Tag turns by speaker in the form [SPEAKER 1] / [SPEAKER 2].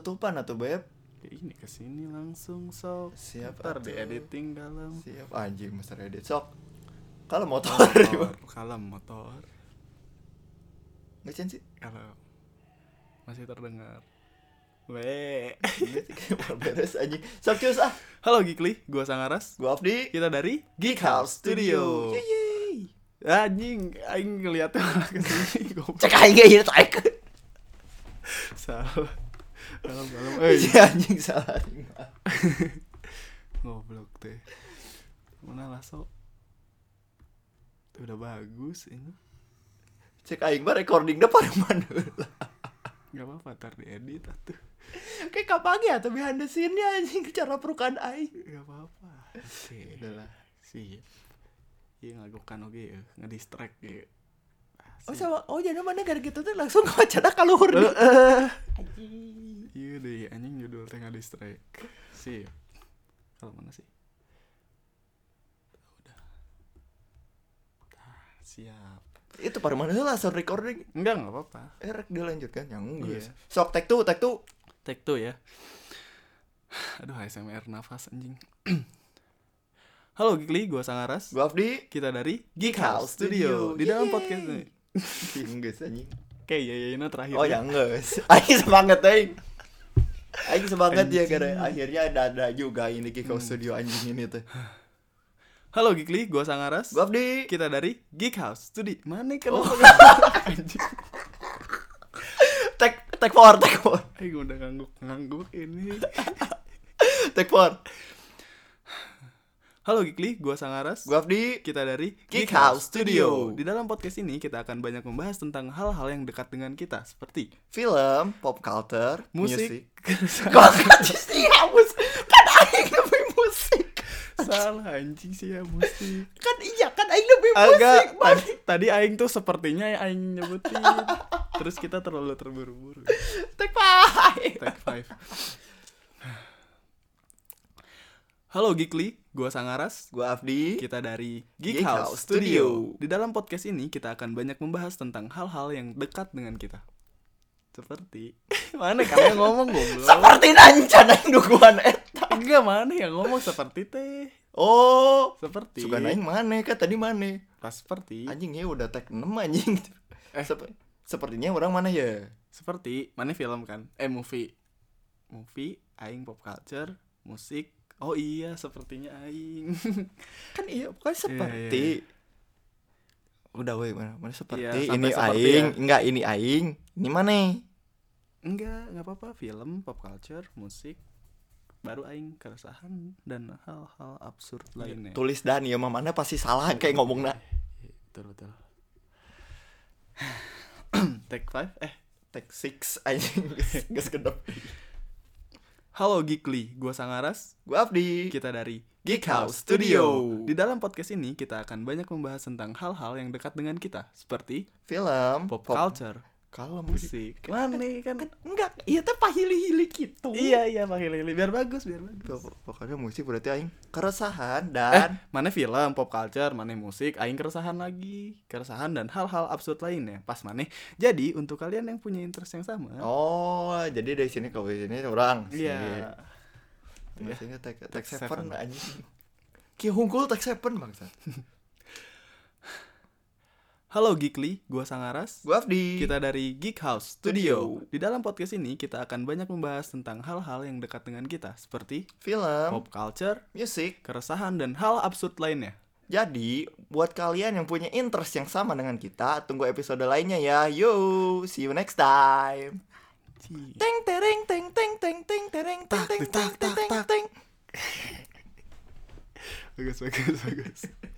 [SPEAKER 1] penutupan atau beb
[SPEAKER 2] Ya ini kesini langsung sok.
[SPEAKER 1] Siap,
[SPEAKER 2] Ntar di
[SPEAKER 1] atuh.
[SPEAKER 2] editing dalam.
[SPEAKER 1] siap anjing Mister Edit sok kalau motor
[SPEAKER 2] Motor, kalem motor.
[SPEAKER 1] ngecen sih
[SPEAKER 2] Kalau masih terdengar. We.
[SPEAKER 1] Berarti kayak mau beres anjing sok cus ah
[SPEAKER 2] Halo Gikli, gua Sangaras.
[SPEAKER 1] gua Afdi
[SPEAKER 2] Kita dari
[SPEAKER 1] Geek House Studio
[SPEAKER 2] Yeay. Anjing, aing ngeliatnya malah kesini. Goblok.
[SPEAKER 1] cek aing ya cek
[SPEAKER 2] Salah. Kalem, kalem. Eh,
[SPEAKER 1] Iya, anjing salah anjing.
[SPEAKER 2] Goblok teh. Mana lah sok. Udah bagus ini.
[SPEAKER 1] cek aing mah recording depan mana
[SPEAKER 2] Gak apa-apa, ntar diedit atuh.
[SPEAKER 1] kayak kapan ya tapi behind the scene nya anjing cara perukan aing
[SPEAKER 2] Gak apa-apa. Oke.
[SPEAKER 1] udahlah
[SPEAKER 2] sih iya ngagukan oke ya ngedistract ya
[SPEAKER 1] oh sama oh jadi mana gara gitu tuh langsung kacana kaluhur nih eh. Anjing.
[SPEAKER 2] iya deh anjing judul teh ngedistract sih kalau mana sih udah Tah, siap
[SPEAKER 1] itu paruh mana lah sound recording
[SPEAKER 2] enggak nggak apa-apa
[SPEAKER 1] eh rek dilanjutkan yang enggak
[SPEAKER 2] Iya.
[SPEAKER 1] sok take two take two
[SPEAKER 2] take two ya aduh ASMR nafas anjing halo Gikli gua Sangaras
[SPEAKER 1] gua Afdi
[SPEAKER 2] kita dari
[SPEAKER 1] Geek House Studio.
[SPEAKER 2] di dalam
[SPEAKER 1] Yeay.
[SPEAKER 2] podcast ini
[SPEAKER 1] Inggris anjing.
[SPEAKER 2] kayak ya ya ini terakhir
[SPEAKER 1] Oh ya Inggris. Aing semangat aing. Aing semangat ya gara akhirnya ada ada juga ini Kiko
[SPEAKER 2] Hmm.
[SPEAKER 1] Studio anjing ini tuh.
[SPEAKER 2] halo Gikli gua Sangaras
[SPEAKER 1] Gua Oh. Abdi.
[SPEAKER 2] kita dari Geek House Studi mana kan kenapa anjing
[SPEAKER 1] Tag tag four tag four
[SPEAKER 2] eh gue udah ngangguk ngangguk ini
[SPEAKER 1] tag four.
[SPEAKER 2] halo Geekly gue Sangaras
[SPEAKER 1] Gua Abdi.
[SPEAKER 2] kita dari
[SPEAKER 1] Geek House Studio.
[SPEAKER 2] di dalam podcast ini kita akan banyak membahas tentang hal-hal yang dekat dengan kita seperti
[SPEAKER 1] Iya Film, pop culture,
[SPEAKER 2] musik,
[SPEAKER 1] Kok anjing sih hapus? Kan aing lebih musik.
[SPEAKER 2] salah anjing sih ya musik
[SPEAKER 1] Kan iya kan aing lebih musik.
[SPEAKER 2] agak tadi, tadi aing tuh sepertinya yang aing nyebutin terus kita terlalu terburu-buru
[SPEAKER 1] Tag five.
[SPEAKER 2] Take five. Halo Geekly, gue Sangaras
[SPEAKER 1] Gua Abdi.
[SPEAKER 2] Kita dari Geek,
[SPEAKER 1] Geek
[SPEAKER 2] House
[SPEAKER 1] House
[SPEAKER 2] Studio.
[SPEAKER 1] Studio.
[SPEAKER 2] Di dalam podcast ini kita akan banyak membahas tentang hal-hal yang dekat dengan kita. Seperti mana kamu yang ngomong goblok?
[SPEAKER 1] Seperti nancan aing eh. dukungan eta.
[SPEAKER 2] Enggak mana yang ngomong seperti teh.
[SPEAKER 1] Oh.
[SPEAKER 2] Seperti.
[SPEAKER 1] Suka aing mana kan tadi mana?
[SPEAKER 2] Pas seperti.
[SPEAKER 1] anjing ya udah tag 6 anjing
[SPEAKER 2] Eh.
[SPEAKER 1] Sep- sepertinya orang mana ya
[SPEAKER 2] Seperti mana film kan? Eh movie. Movie, aing pop culture, musik. Oh iya, sepertinya aing.
[SPEAKER 1] kan iya pokoknya seperti
[SPEAKER 2] Iya,
[SPEAKER 1] udah weh mana mana seperti
[SPEAKER 2] Iya, sampai
[SPEAKER 1] ini
[SPEAKER 2] seperti
[SPEAKER 1] aing
[SPEAKER 2] ya.
[SPEAKER 1] enggak ini aing ini mana
[SPEAKER 2] Enggak, nggak apa-apa. Film, pop culture, musik, baru aing keresahan dan hal-hal absurd lainnya.
[SPEAKER 1] tulis dan ya mah mana pasti salah kayak ngomong nak
[SPEAKER 2] betul betul take five eh
[SPEAKER 1] tag 6 anjing geus kedep
[SPEAKER 2] halo Geekly gua Sangaras
[SPEAKER 1] gua Abdi
[SPEAKER 2] kita dari
[SPEAKER 1] Geek House Studio
[SPEAKER 2] di dalam podcast ini kita akan banyak membahas tentang hal-hal yang dekat dengan kita seperti
[SPEAKER 1] film
[SPEAKER 2] pop, culture
[SPEAKER 1] kalau musik
[SPEAKER 2] musik mana kan
[SPEAKER 1] kan enggak iya teh pahili-hili gitu
[SPEAKER 2] iya iya pakai lili biar bagus biar bagus
[SPEAKER 1] Pok- pokoknya musik berarti aing keresahan dan
[SPEAKER 2] mana film pop culture mana musik aing keresahan lagi keresahan dan hal-hal absurd lainnya pas mana jadi untuk kalian yang punya interest yang sama
[SPEAKER 1] oh jadi dari sini ke sini orang
[SPEAKER 2] iya
[SPEAKER 1] Maksudnya tag, Iya. tag,
[SPEAKER 2] Tag
[SPEAKER 1] seven,
[SPEAKER 2] seven.
[SPEAKER 1] anjing. Ki hunggul tag seven bangsa.
[SPEAKER 2] halo Geekly gua Sangaras
[SPEAKER 1] Gua Afdi.
[SPEAKER 2] Kita dari Geek House Studio. Di dalam podcast ini kita akan banyak membahas tentang hal-hal yang dekat dengan kita seperti
[SPEAKER 1] film,
[SPEAKER 2] pop culture,
[SPEAKER 1] musik.
[SPEAKER 2] keresahan dan hal absurd lainnya.
[SPEAKER 1] Jadi buat kalian yang punya interest yang sama dengan kita, tunggu episode lainnya ya. Yo, see you next time. Teng tereng teng teng teng teng tereng teng teng teng teng teng.
[SPEAKER 2] Bagus bagus bagus.